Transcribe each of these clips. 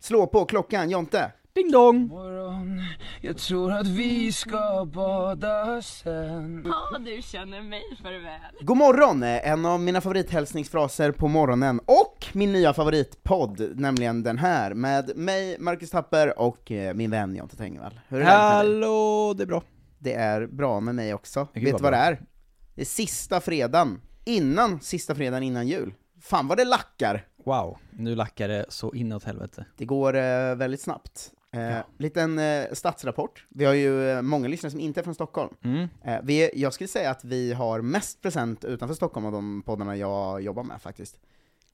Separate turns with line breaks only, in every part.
Slå på klockan, Jonte.
Ding dong.
morgon Jag tror att vi ska bada sen
Ja, du känner mig för väl.
God morgon är en av mina favorithälsningsfraser på morgonen och min nya favoritpodd, nämligen den här med mig, Marcus Tapper och eh, min vän Jonte Tengvall. Hur är läget med dig?
Hallå, det är bra.
Det är bra med mig också. Vet
gud,
du
vad
vad det
bra.
är? Det är sista fredagen, innan sista fredagen innan jul. Fan vad det lackar!
Wow, nu lackar det så inåt helvete.
Det går eh, väldigt snabbt. Eh, Liten eh, statsrapport. Vi har ju eh, många lyssnare som inte är från Stockholm.
Mm.
Eh, vi, jag skulle säga att vi har mest present utanför Stockholm av de poddarna jag jobbar med faktiskt.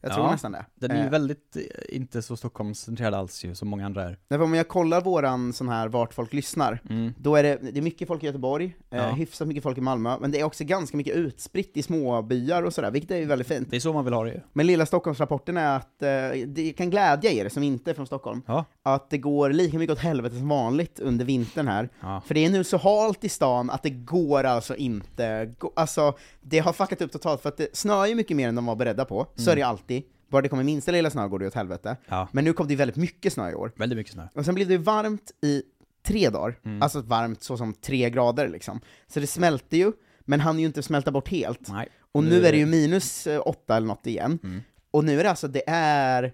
Jag tror
Ja.
nästan det.
Den är ju
Eh,
väldigt, eh, inte så Stockholmscentrerad alls ju, som många andra är.
Nej, för om jag kollar våran sån här vart folk lyssnar, då är det, det är mycket folk i Göteborg,
Mm. Ja.
eh, hyfsat mycket folk i Malmö, men det är också ganska mycket utspritt i småbyar och sådär, vilket är ju väldigt fint.
Det är så man vill ha det ju.
Men lilla Stockholmsrapporten är att, eh, det kan glädja er som inte är från Stockholm,
Ja.
att det går lika mycket åt helvete som vanligt under vintern här.
Ja.
För det är nu så halt i stan att det går alltså inte, gå- alltså det har fuckat upp totalt, för att det snöar ju mycket mer än de var beredda på, så är det ju alltid. Bara det kommer minsta lilla snö går det åt helvete.
Mm. Ja.
Men nu kom det ju väldigt mycket snö i år.
Väldigt mycket snö.
Och sen blev det varmt i tre dagar,
Mm.
alltså varmt så som tre grader liksom. Så det smälte ju, men han ju inte smälta bort helt.
Nej.
Och nu är det ju minus eh, åtta eller något igen. Och nu är det alltså, det är,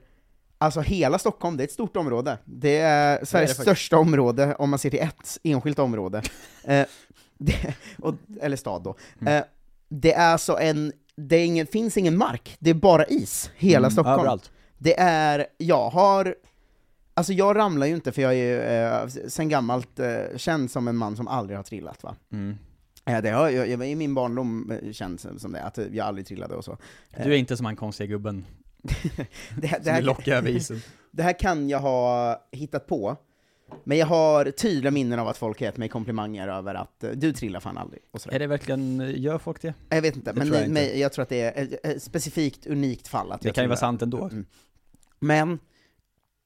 alltså hela Stockholm, det är ett stort område. Det är Sveriges
faktiskt.
största område om man ser till ett enskilt område. eh, det, och, eller stad då. Eh, det är alltså en, det är ingen, finns ingen mark, det är bara is, hela Stockholm.
Mm, Överallt.
Det är, jag har, alltså jag ramlar ju inte för jag är ju eh, sen gammalt eh, känd som en man som aldrig har trillat va.
Mm.
Eh, det har, jag, jag var i min barndom eh, känd som som det, att jag aldrig trillade och så.
Du är inte som han konstiga gubben
Det, Eh. det,
som vill
här,
locka över isen.
det här kan jag ha hittat på, men jag har tydliga minnen av att folk har gett mig komplimanger över att eh, du trillar fan aldrig. Och sådär.
Är det verkligen, eh, gör folk det?
jag vet inte,
det
men
tror jag
jag,
inte.
Men jag tror att det är ett, ett specifikt unikt fall. Att
Det
jag
kan ju
trillar.
vara sant ändå.
Mm. Men,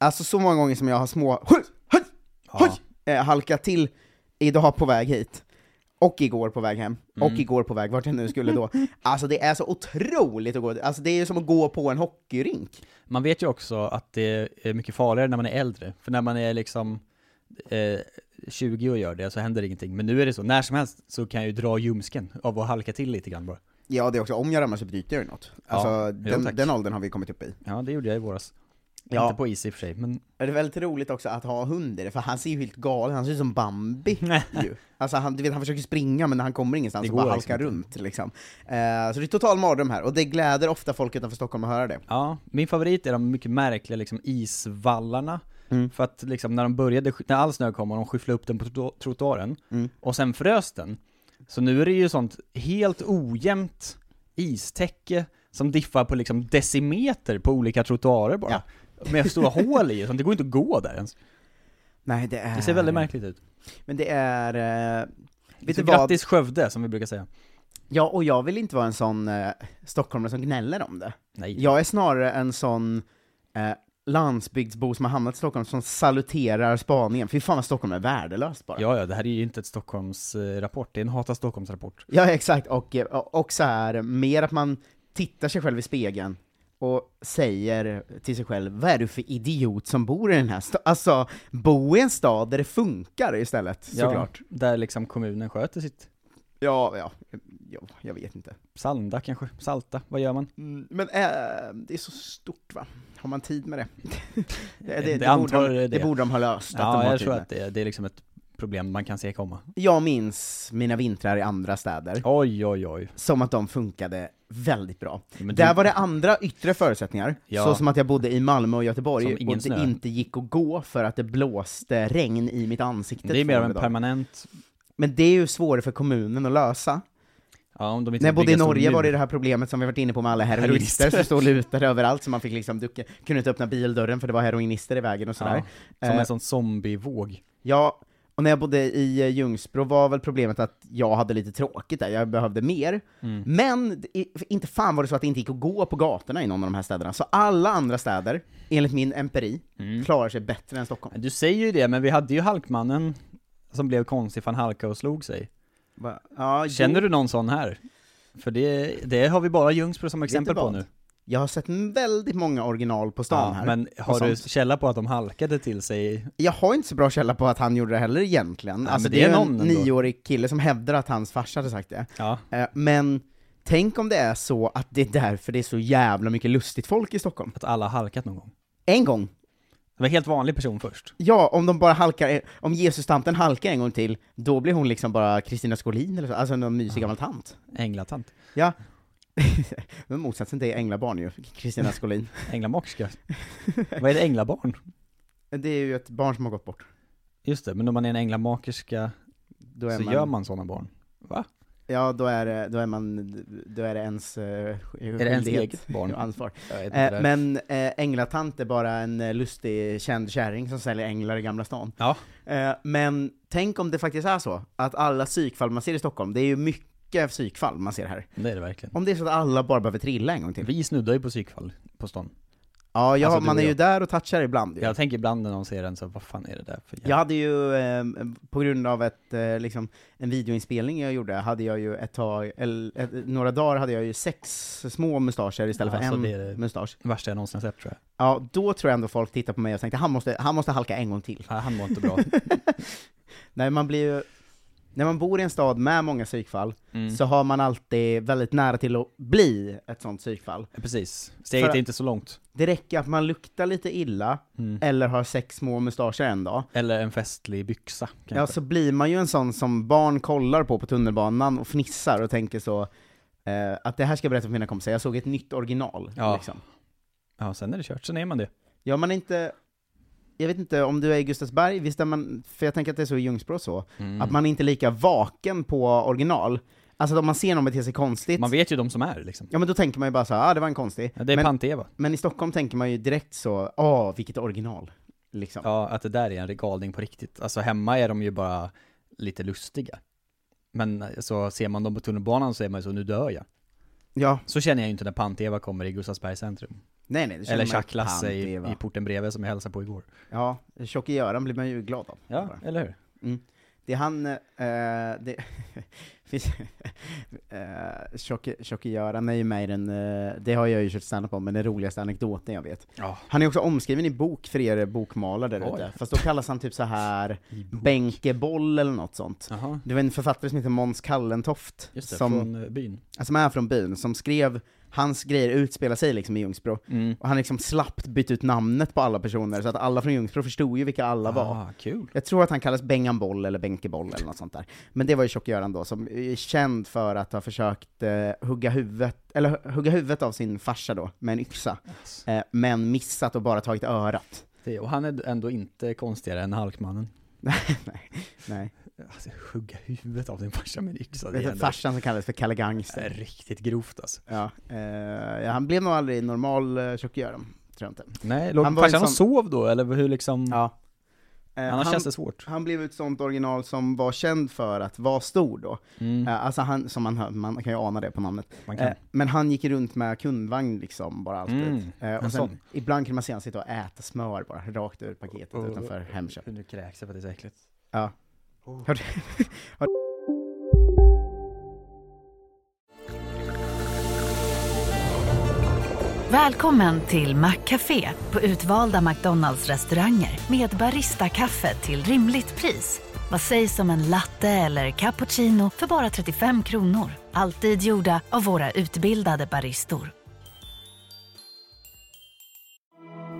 alltså så många gånger som jag har små
Ja.
eh, halka till idag på väg hit, och igår på väg hem,
Mm.
och igår på väg vart jag nu skulle då. Alltså det är så otroligt att gå, alltså det är ju som att gå på en hockeyrink.
Man vet ju också att det är mycket farligare när man är äldre, för när man är liksom eh, 20 och gör det så händer ingenting. Men nu är det så, när som helst så kan jag ju dra ljumsken av att halka till lite grann bara.
Ja det är också, om jag ramlar så bryter jag ju något. Alltså
Ja, jo,
den,
tack.
den åldern har vi kommit upp i.
Ja, det gjorde jag i våras.
Ja.
Inte på is i och för sig, men
Det är väldigt roligt också att ha hund i det, för han ser ju helt galen, han ser ut som Bambi ju. Alltså han, du vet, han försöker springa men han kommer ingenstans,
Det
och bara
går
halkar
liksom
runt liksom. Eh, så det är total mardröm här, och det gläder ofta folk utanför Stockholm att höra det.
Ja, min favorit är de mycket märkliga liksom isvallarna.
Mm.
För att liksom när de började, när all snö kom och de skyfflade upp den på trotto- trottoaren,
Mm.
och sen frös den. Så nu är det ju sånt helt ojämnt istäcke som diffar på liksom decimeter på olika trottoarer bara.
Ja.
Med stora hål i, så det går inte att gå där ens.
Nej det är...
Det ser väldigt märkligt ut.
Men det är... eh, vet
Så
du vad?
grattis Skövde, som vi brukar säga.
Ja, och jag vill inte vara en sån eh, stockholmare som gnäller om det.
Nej.
Jag är snarare en sån eh, landsbygdsbo som har hamnat i Stockholm som saluterar spaningen. Fy fan vad Stockholm är värdelöst bara.
Ja, ja, det här är ju inte ett Stockholmsrapport, det är en Hata Stockholmsrapport.
Ja, exakt. Och, eh, och så här, mer att man tittar sig själv i spegeln och säger till sig själv, vad är du för idiot som bor i den här staden? Alltså, bo i en stad där det funkar istället, såklart.
Ja, där liksom kommunen sköter sitt.
Ja, ja, ja jag vet inte.
Sanda kanske, salta, vad gör man?
Mm, Men eh, det är så stort va? Har man tid med det? det,
Det antar
borde de,
det.
det borde de ha löst, att de
Ja,
har
jag
tid
tror
med.
att det är, det är liksom ett problem man kan se komma.
Jag minns mina vintrar i andra städer
Oj, oj, oj.
som att de funkade väldigt bra.
Men
Där
du-
var det andra yttre förutsättningar,
Ja.
så som att jag bodde i Malmö och Göteborg
Som
och
ingen
det
snö.
inte gick att gå för att det blåste regn i mitt ansikte.
Det är mer
två
av en
dagar.
permanent,
Men det är ju svårare för kommunen att lösa.
ja om de inte
När jag bodde i
bygger en stor
Norge var det
Liksom mur.
det här problemet som vi varit inne på med alla heroinister som
Heroinister.
stod lutade överallt, så man fick liksom, du kunde inte öppna bildörren för det var heroinister i vägen och sådär.
Ja, som
Eh,
en sån zombievåg.
Ja, och när jag bodde i eh, Ljungsbro var väl problemet att jag hade lite tråkigt där, jag behövde mer.
Mm.
Men d- i- inte fan var det så att det inte gick att gå på gatorna i någon av de här städerna. Så alla andra städer, enligt min empiri,
Mm.
klarar sig bättre än Stockholm.
Du säger ju det, men vi hade ju Halkmannen som blev konstig för han halkade och slog sig.
Va- Ja,
Känner du någon sån här? För det, det har vi bara Ljungsbro som exempel på
vad?
nu.
Jag har sett m- väldigt många original på stan
Ja,
här.
men
och
har du
sånt.
källa på att de halkade till sig?
Jag har inte så bra källa på att han gjorde det heller egentligen.
Nej,
alltså
men
det,
det är
är en
någon ändå.
nioårig kille som hävdar att hans farsa hade sagt det.
Ja.
Eh, Men tänk om det är så att det är därför det är så jävla mycket lustigt folk i Stockholm.
Att alla har halkat någon gång.
En gång
Det var en helt vanlig person först.
Ja, om de bara halkar, om Jesus-tanten halkar en gång till, då blir hon liksom bara Kristina Skolin eller så, alltså någon mysig gammal tant.
Änglatant.
Ja. Men motsatsen till änglabarn ju, Kristina Skolin.
Änglamokerska. Vad är det, änglabarn?
Det är ju ett barn som har gått bort.
Just det, men om man är en änglamakerska
Då är
så
man,
gör man sådana barn. Va?
Ja, då är, det- då är man, då är det ens Är
Är det ens eget barn?
och ansvar.
Jag vet inte det.
Eh, men eh, änglatant är bara en eh, lustig känd kärring som säljer änglar i Gamla stan.
Ja,
Eh, men tänk om det faktiskt är så, att alla psykfall man ser i Stockholm, det är ju mycket psykfall man ser här.
det är det verkligen.
Om det är så att alla bara behöver trilla en gång till.
Vi snuddar ju på psykfall på stan.
Ja, jag,
Alltså, du
man
och
är ju
jag.
där och touchar ibland ju.
Jag tänker ibland när någon ser den så, vad fan är det där för
Jag hade ju, eh, på grund av ett, eh, liksom, en videoinspelning jag gjorde, hade jag ju ett tag, eller ett, några dagar hade jag ju sex små mustascher istället för
Alltså,
en
det är det.
mustasch.
Värsta jag någonsin sett tror jag.
Ja, då tror jag ändå folk tittar på mig och tänkte han måste, han måste halka en gång till.
Nej, han mår inte bra.
Nej, man blir ju, när man bor i en stad med många psykfall,
Mm.
så har man alltid väldigt nära till att bli ett sånt psykfall.
Precis. Steget
För-
är inte så långt.
Det räcker att man luktar lite illa,
Mm.
eller har sex små mustascher en dag,
Eller en festlig byxa kanske.
Ja, så blir man ju en sån som barn kollar på på tunnelbanan och fnissar och tänker så eh, att det här ska jag berätta för mina kompisar, jag såg ett nytt original. Ja.
Ja.
Liksom.
ja, sen är det kört. Sen är man det.
Gör man inte, jag vet inte om du är i Gustavsberg, visst är man, för jag tänker att det är så i Ljungsbro så,
Mm.
att man är inte lika vaken på original. Alltså att om man ser någon bete sig konstigt,
Man vet ju de som är liksom.
ja men då tänker man ju bara så här, ah, det var en konstig.
Ja, det är
men,
Panteva.
men i Stockholm tänker man ju direkt så, åh vilket original. Liksom.
Ja, att det där är en galning på riktigt. Alltså hemma är de ju bara lite lustiga. Men eh, så ser man dem på tunnelbanan så är man ju så, nu dör jag.
Ja.
Så känner jag ju inte när Panteva kommer i Gustavsbergs centrum.
Nej nej, det känner
Eller
man ju.
Chuck-Lasse
Fan,
i,
det var-
i porten bredvid som jag hälsade på igår.
Ja, tjock i öran blir man ju glad av.
Ja,
Bara.
eller hur?
Det är han, eh, det, finns, eh, Tjocke- Tjocke Göran är ju med i den, eh, det har jag ju kört stand-up om, men den roligaste anekdoten jag vet.
Ja.
Han är också omskriven i bok för er bokmalare där
Oj.
ute, fast då kallas han typ så här Bänkeboll eller något sånt.
Jaha.
Det var en författare som heter Måns Kallentoft,
Just det,
som,
från eh, byn.
som är från byn, som skrev Hans grejer utspelar sig liksom i Ljungsbro,
Mm.
och han liksom slappt bytt ut namnet på alla personer, så att alla från Ljungsbro förstod ju vilka alla var.
Ah, kul.
Jag tror att han kallas Bengamboll eller Bänkeboll eller något sånt där. Men det var ju Tjock-Göran då, som är känd för att ha försökt eh, hugga, huvudet, eller, hu- hugga huvudet av sin farsa då, med en yxa. Eh, men missat och bara tagit örat.
Det, och han är ändå inte konstigare än Halkmannen.
nej, nej.
Alltså, hugga huvudet av din farsa med en yxa,
Det
det är
är typ
ändå
farsan som kallades för Kalle
det är
Gangster.
riktigt grovt alltså.
Ja, eh, ja, han blev nog aldrig normal eh, Tjock-Göran, tror jag inte.
Nej, låg
Han var
farsan
en
och sov då, eller hur liksom?
Ja. Eh,
Annars
han,
känns det svårt.
han blev ett sånt original som var känd för att vara stor då. Eh, alltså han, som man, hör- man kan ju ana det på namnet.
Mm. Man kan.
Eh, men han gick ju runt med kundvagn liksom, bara alltid.
Mm,
eh, och sen,
en sån.
ibland kunde man se han sitta och äta smör bara, rakt ur paketet
Oh, oh,
utanför
oh, oh.
Hemköp.
Nu kräks jag för att det är så äckligt.
Ja. Har du, har du...
Välkommen till Maccafé på utvalda McDonalds restauranger med Baristakaffe till rimligt pris. Vad sägs om en latte eller cappuccino för bara 35 kronor? Alltid gjorda av våra utbildade baristor.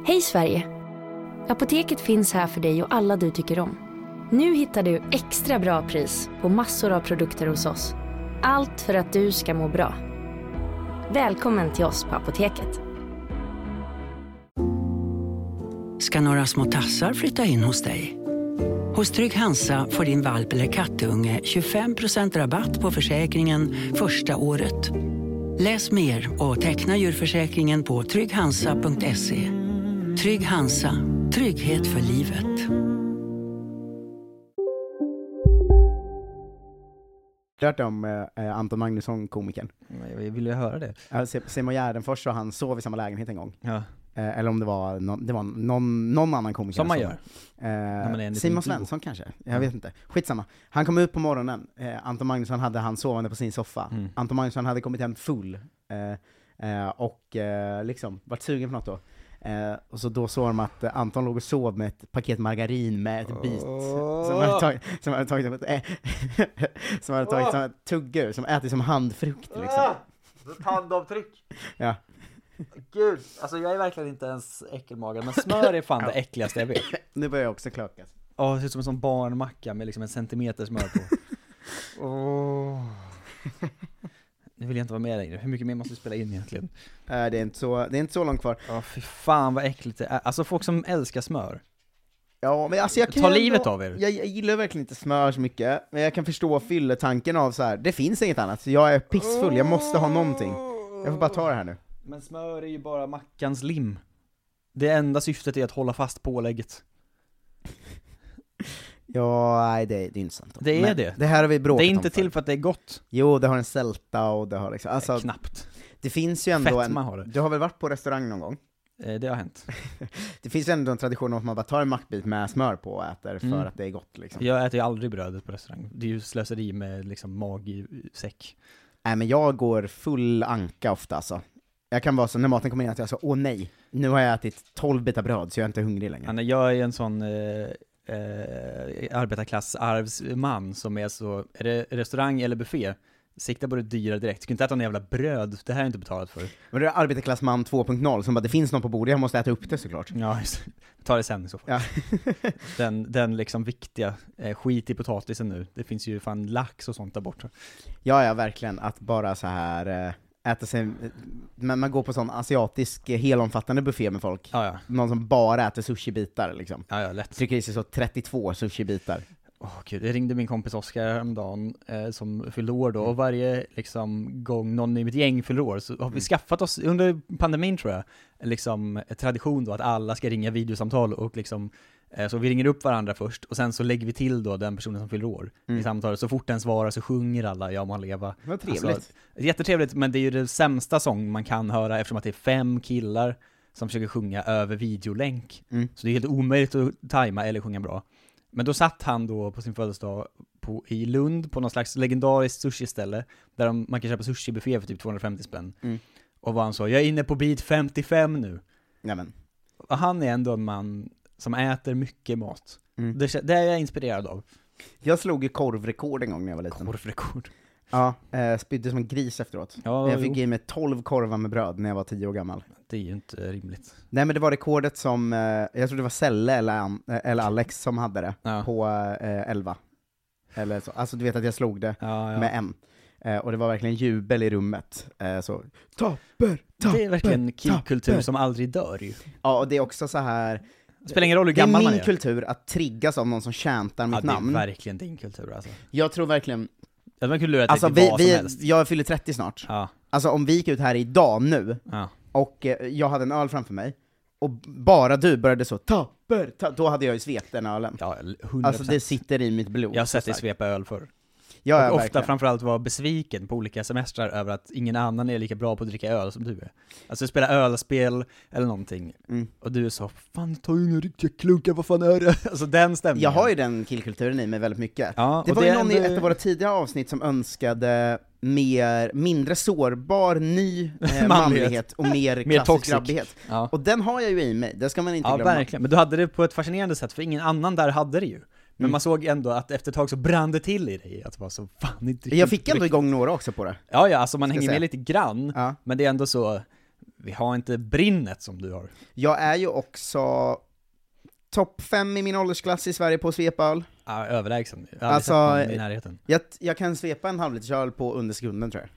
Hej Sverige! Apoteket finns här för dig och alla du tycker om. Nu hittar du extra bra pris på massor av produkter hos oss. Allt för att du ska må bra. Välkommen till oss på Apoteket.
ska några små tassar flytta in hos dig. Hos Trygg Hansa får din valp eller kattunge 25% rabatt på försäkringen första året. Läs mer och teckna djurförsäkringen på trygghansa.se. Trygg Hansa, trygghet för livet.
Har du hört om eh, eh, Anton Magnusson, komikern?
Jag vill ju höra det.
Ja, Se- Simon Gärdenfors och han sov i samma lägenhet en gång.
Ja.
Eh, eller om det var, någon, det var någon, någon annan komiker.
Som man
som-
gör. man är en
Eh,
liten
Simon
duo. Mm.
Svensson kanske? Jag vet inte. Skitsamma. Han kom ut på morgonen, eh, Anton Magnusson hade han sovande på sin soffa.
Mm.
Anton Magnusson hade kommit hem full, eh, eh, och eh, liksom varit sugen på något då. Eh, och så då såg de att eh, Anton låg och sov med ett paket margarin med ett bit som han hade tagit som han hade tagit som ett, ä- som han hade tagit som ett tuggur, som ätit som handfrukt
Ah!
liksom.
Tandavtryck!
Ja.
Gud, alltså jag är verkligen inte ens äckelmagad, men smör är fan det äckligaste jag vet.
Nu börjar jag också klökas.
Ja, det ser ut som en sån barnmacka med liksom en centimeter smör på. Åh. Nu vill jag inte vara med längre, hur mycket mer måste vi spela in egentligen?
Eh, det, är inte så, det är inte så långt kvar.
Ja, fy fan vad äckligt det är. Alltså folk som älskar smör.
Ja, men alltså jag kan
Ta
ju
livet av er.
Jag, jag gillar verkligen inte smör så mycket, men jag kan förstå fylletanken av så här. det finns inget annat, så jag är pissfull, jag måste ha någonting. Jag får bara ta det här nu.
Men smör är ju bara mackans lim. Det enda syftet är att hålla fast pålägget.
Ja, nej det, det är inte sant.
Det är
Men
det.
Det här har vi bråkat
Det är inte
om
till
förut.
för att det är gott.
Jo, det har en sälta och det har liksom, alltså
Knappt.
det finns ju ändå en...
Fetma har det.
Du har väl varit på restaurang någon gång?
Eh, Det har hänt.
Det finns ju ändå en tradition om att man bara tar en mackbit med smör på och äter för
Mm.
att det är gott liksom.
Jag äter ju aldrig brödet på restaurang. Det är ju slöseri med liksom mag i säck.
Nej men jag går full anka ofta alltså. Jag kan vara så, när maten kommer in, att jag så, åh nej, nu har jag ätit 12 bitar bröd så jag är inte hungrig längre.
Ja, nej, Jag är en sån eh, eh, arbetarklassarvsman som är så, är det restaurang eller buffé? Sikta på det dyra direkt. Ska inte äta någon jävla bröd, det här är inte betalat för.
Men det är arbetarklassman 2.0 som bara, det finns någon på bordet, jag måste äta upp det såklart.
Ja, just det. Ta det sen i så fall.
Ja.
Den, den liksom viktiga, eh, skit i potatisen nu. Det finns ju fan lax och sånt där borta.
ja, ja verkligen, att bara så här eh, äta sig, men man går på sån asiatisk eh, helomfattande buffé med folk.
Ja, ja.
Någon som bara äter sushibitar liksom.
Ja, ja, lätt.
Trycker i sig så 32 sushibitar.
Åh gud, jag ringde min kompis Oskar häromdagen eh, som fyllde år
Mm.
då och varje liksom, gång någon i mitt gäng fyller år så har vi
Mm.
skaffat oss, under pandemin tror jag, liksom eh, tradition då att alla ska ringa videosamtal och liksom eh, så vi ringer upp varandra först och sen så lägger vi till då den personen som fyller år i samtalet. Så fort den svarar så sjunger alla Ja må han leva.
Mm. Vad trevligt.
jättetrevligt, men det är ju det sämsta sång man kan höra eftersom att det är fem killar som försöker sjunga över videolänk.
Mm.
Så det är helt omöjligt att tajma eller sjunga bra. Men då satt han då på sin födelsedag på, i Lund på någon slags legendariskt sushiställe där de, man kan köpa sushibuffé för typ 250 spänn.
Mm.
Och vad han sa, jag är inne på bit 55 nu.
Nej, men.
Och han är ändå en man som äter mycket mat.
Mm.
Det, kä- det är jag inspirerad av.
Jag slog ju korvrekord en gång när jag var liten.
Korvrekord.
Ja, eh, spydde som en gris efteråt.
Ja,
jag
jo.
fick i mig 12 korvar med bröd när jag var 10 år gammal.
Det är ju inte rimligt.
Nej men det var rekordet som, eh, jag tror det var Selle eller, An- eh, eller Alex som hade det,
Ja.
på eh, 11. Eller så. Alltså du vet att jag slog det
Ja, ja.
med en. Eh, och det var verkligen jubel i rummet. Eh, så, tapper, tapper,
det är verkligen killkultur
tapper.
som aldrig dör ju.
Ja och det är också så här
Det spelar ingen roll hur
det är
gammal man
min
är.
kultur att triggas av någon som tjäntar
ja,
mitt
det är
namn.
verkligen din kultur alltså.
Jag tror verkligen,
Att man kunde lura
alltså
till
vi,
vad som
vi,
helst.
jag fyller 30 snart.
Ja,
Alltså om vi gick ut här idag nu,
ja.
och eh, jag hade en öl framför mig, och bara du började så tapper, ta då hade jag ju svept den ölen.
ja 100%.
Alltså det sitter i mitt blod.
jag har sett
så
dig
starkt.
svepa öl förr.
Ja, ja,
och ofta
verkligen.
framförallt vara besviken på olika semestrar över att ingen annan är lika bra på att dricka öl som du är. Alltså spela ölspel eller någonting,
Mm.
och du är så 'Fan, ta ju inga riktiga klunkar, vad fan är det?' Alltså den stämningen.
Jag har ju den killkulturen i mig väldigt mycket.
Ja,
det
och
var ju
det är
någon i
ändå-
ett av våra tidigare avsnitt som önskade mer, mindre sårbar, ny eh, manlighet. och mer,
Mer
klassisk
toxic.
grabbighet.
Ja.
Och den har jag ju i mig, det ska man inte
Ja,
glömma.
verkligen. Men du hade det på ett fascinerande sätt, för ingen annan där hade det ju.
Mm.
Men man såg ändå att efter ett tag så brann det till i dig, att det var så 'Fan, inte
Jag fick
riktigt-
ändå igång några också på det.
Ja, ja, alltså man
Ska
hänger
säga.
med lite grann,
Ja.
men det är ändå så, vi har inte brinnet som du har.
Jag är ju också topp fem i min åldersklass i Sverige på svepöl.
Ja, överlägsen. Jag har aldrig
Alltså,
sett någon i närheten.
jag, jag kan svepa en halvliters öl på under sekunden tror jag.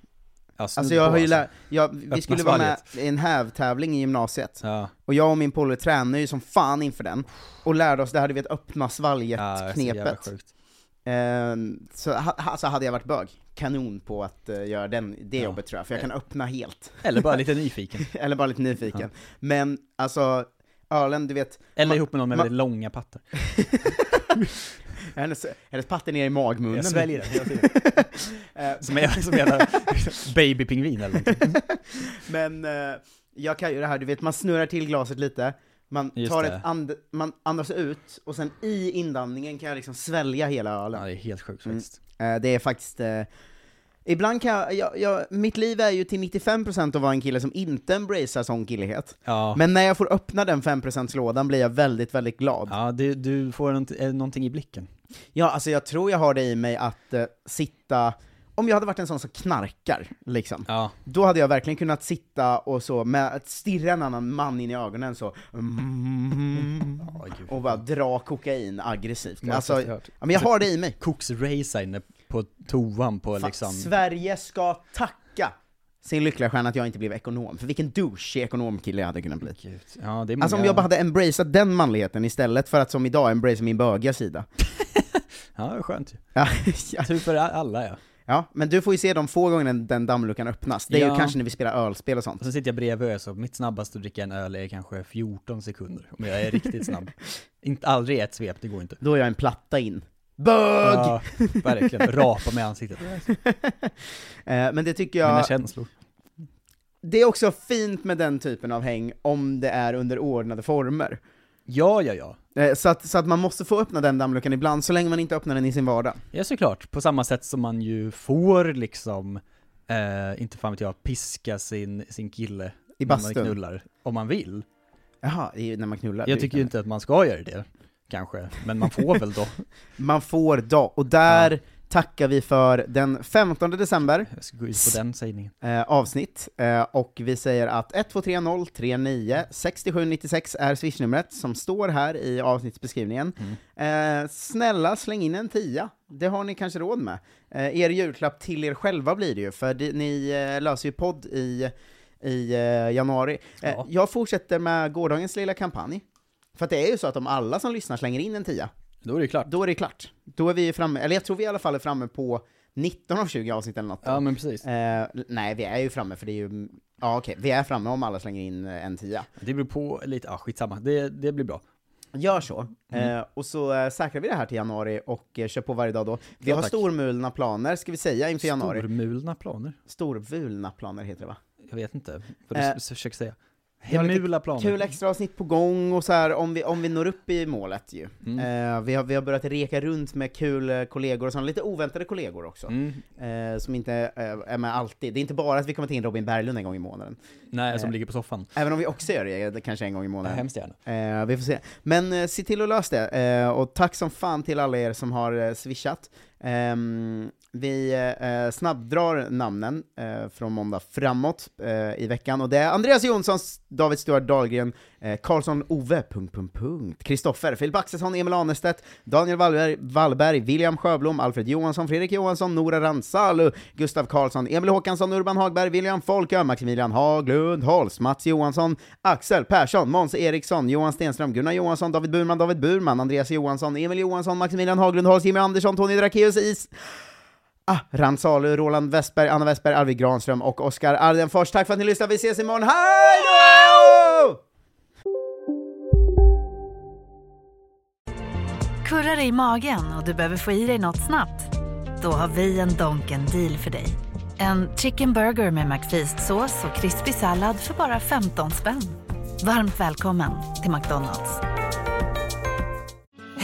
snudd
alltså jag
på,
har ju lä-
alltså.
jag, vi
Öppna
skulle vara med
svalget.
i en hävtävling i gymnasiet, och jag och min polare tränade ju som fan inför den, och lärde oss det här du vet öppna
Ja, det är så jävla
svalget-knepet.
sjukt.
Ehm, så ha, alltså hade jag varit bög, kanon på att eh, göra den, det jobbet tror jag, för
Eh.
jag kan öppna helt.
Eller bara lite nyfiken.
Eller bara lite nyfiken. Men alltså, ölen, du vet...
Eller
man-
ihop med någon med
man-
väldigt långa pattar.
hennes, hennes patte ner i magmunnen.
Jag sväljer den hela tiden. Som en- som en jävla babypingvin eller någonting.
Men eh, jag kan ju det här, du vet, man snurrar till glaset lite, man,
Just
tar
det.
ett and, man andas ut, och sen i inandningen kan jag liksom svälja hela ölen.
Ja, det är helt sjukt faktiskt.
Eh, det är faktiskt... eh, Ibland kan jag, jag, jag, mitt liv är ju till 95% att vara en kille som inte embracear sån killighet.
Ja.
Men när jag får öppna den 5%-lådan blir jag väldigt, väldigt glad.
Ja, du, du får nånt- eh, någonting i blicken.
Ja, alltså jag tror jag har det i mig att eh, sitta, om jag hade varit en sån som knarkar, liksom,
Ja.
då hade jag verkligen kunnat sitta och så, med att stirra en annan man in i ögonen så, mm, och bara dra kokain aggressivt.
Måste
Alltså,
jag ha hört.
ja, men jag har det i mig.
Koks race inne på toan på
Fan,
liksom...
Sverige ska tacka sin lyckliga stjärna att jag inte blev ekonom, för vilken douche ekonomkille jag hade kunnat bli.
Gud. Ja, det är många...
Alltså om jag bara hade embraceat den manligheten istället för att som idag embracea min bögiga sida.
Ja, det är skönt ju.
Ja, ja.
Tur för alla ja.
Ja, men du får ju se de få gånger den, den dammluckan öppnas. Det är ju
Ja.
kanske när vi spelar ölspel och sånt.
Och så sitter jag bredvid och är så, mitt snabbaste att dricka en öl är kanske 14 sekunder. Om jag är riktigt snabb. Inte, aldrig ett svep, det går inte.
Då är jag en platta in. Bög!
Ja, verkligen. Rapa mig i ansiktet.
Eh, men det tycker
Mina
jag,
känslor.
det är också fint med den typen av häng om det är under ordnade former.
Ja, ja, ja.
Eh, så, att, så att man måste få öppna den dammluckan ibland, så länge man inte öppnar den i sin vardag.
Ja, såklart. På samma sätt som man ju får liksom, eh, inte fan vet jag, piska sin, sin kille
I
när man
bastun.
knullar, om man vill.
Jaha, det är ju när man knullar.
Jag tycker ju inte att man ska göra det, kanske, men man får väl då.
Man får dag, och där tackar vi för den 15 december,
Jag ska gå ut på den sägningen.
eh, avsnitt, eh, och vi säger att 123039 6796 är swishnumret som står här i avsnittsbeskrivningen.
Mm.
Eh, snälla, släng in en tia. Det har ni kanske råd med. Eh, er julklapp till er själva blir det ju, för det, ni eh, löser ju podd i, i eh, januari. Eh,
Ja.
Jag fortsätter med gårdagens lilla kampanj. För att det är ju så att om alla som lyssnar slänger in en tia,
Då är det klart.
då är det klart. Då är vi framme, eller jag tror vi i alla fall är framme på 19 av 20 avsnitt eller något.
Ja, men precis.
Eh, nej, vi är ju framme för det är ju... Ja okej, vi är framme om alla slänger in eh, en tia.
Det beror på lite, ah, skitsamma. Det, det blir bra.
Gör så.
Mm.
Eh, och så eh, säkrar vi det här till januari och eh, kör på varje dag då. Vi
Ja,
har
tack.
stormulna planer, ska vi säga, inför januari.
Stormulna planer?
Storvulna planer heter det va?
Jag vet inte vad du
Eh,
s- försöker säga.
vi har lite
Hemula planer.
Kul extra avsnitt på gång och så här om vi, om vi når upp i målet ju.
Mm.
Eh, vi, har, vi har börjat reka runt med kul eh, kollegor och sånt, lite oväntade kollegor också.
Mm.
Eh, som inte eh, är med alltid. Det är inte bara att vi kommer ta in Robin Berglund en gång i månaden.
Nej,
Eh.
som ligger på soffan.
Även om vi också gör det eh, kanske en gång i
Ja,
månaden.
hemskt gärna.
Eh, vi får se. Men eh, se till att lösa det. Eh, och tack som fan till alla er som har eh, swishat. Ehm, vi eh, snabbdrar namnen eh, från måndag framåt eh, i veckan. Och det är Andreas Jonsson, David Stuart Dahlgren, eh, Karlsson Ove, punkt, punkt, punkt, Kristoffer, Filip Axelsson, Emil Anerstedt, Daniel Wallberg, Wallberg, William Sjöblom, Alfred Johansson, Fredrik Johansson, Nora Ransalu, Gustav Karlsson, Emil Håkansson, Urban Hagberg, William Folkö, Maximilian Haglund, Holst, Mats Johansson, Axel Persson, Måns Eriksson, Johan Stenström, Gunnar Johansson, David Burman, David Burman, Andreas Johansson, Emil Johansson, Maximilian Haglund, Holst, Jimmy Andersson, Tony Drakeus, Is... Ah, Ransalu, Roland Westberg, Anna Westberg, Arvid Granström och Oskar Ardenfors. Tack för att ni lyssnade, vi ses imorgon, hej då!
Kurrar i magen och du behöver få i dig något snabbt? Då har vi en Donken deal för dig. En chicken burger med McFeast-sås och krispig sallad för bara 15 spänn. Varmt välkommen till McDonalds.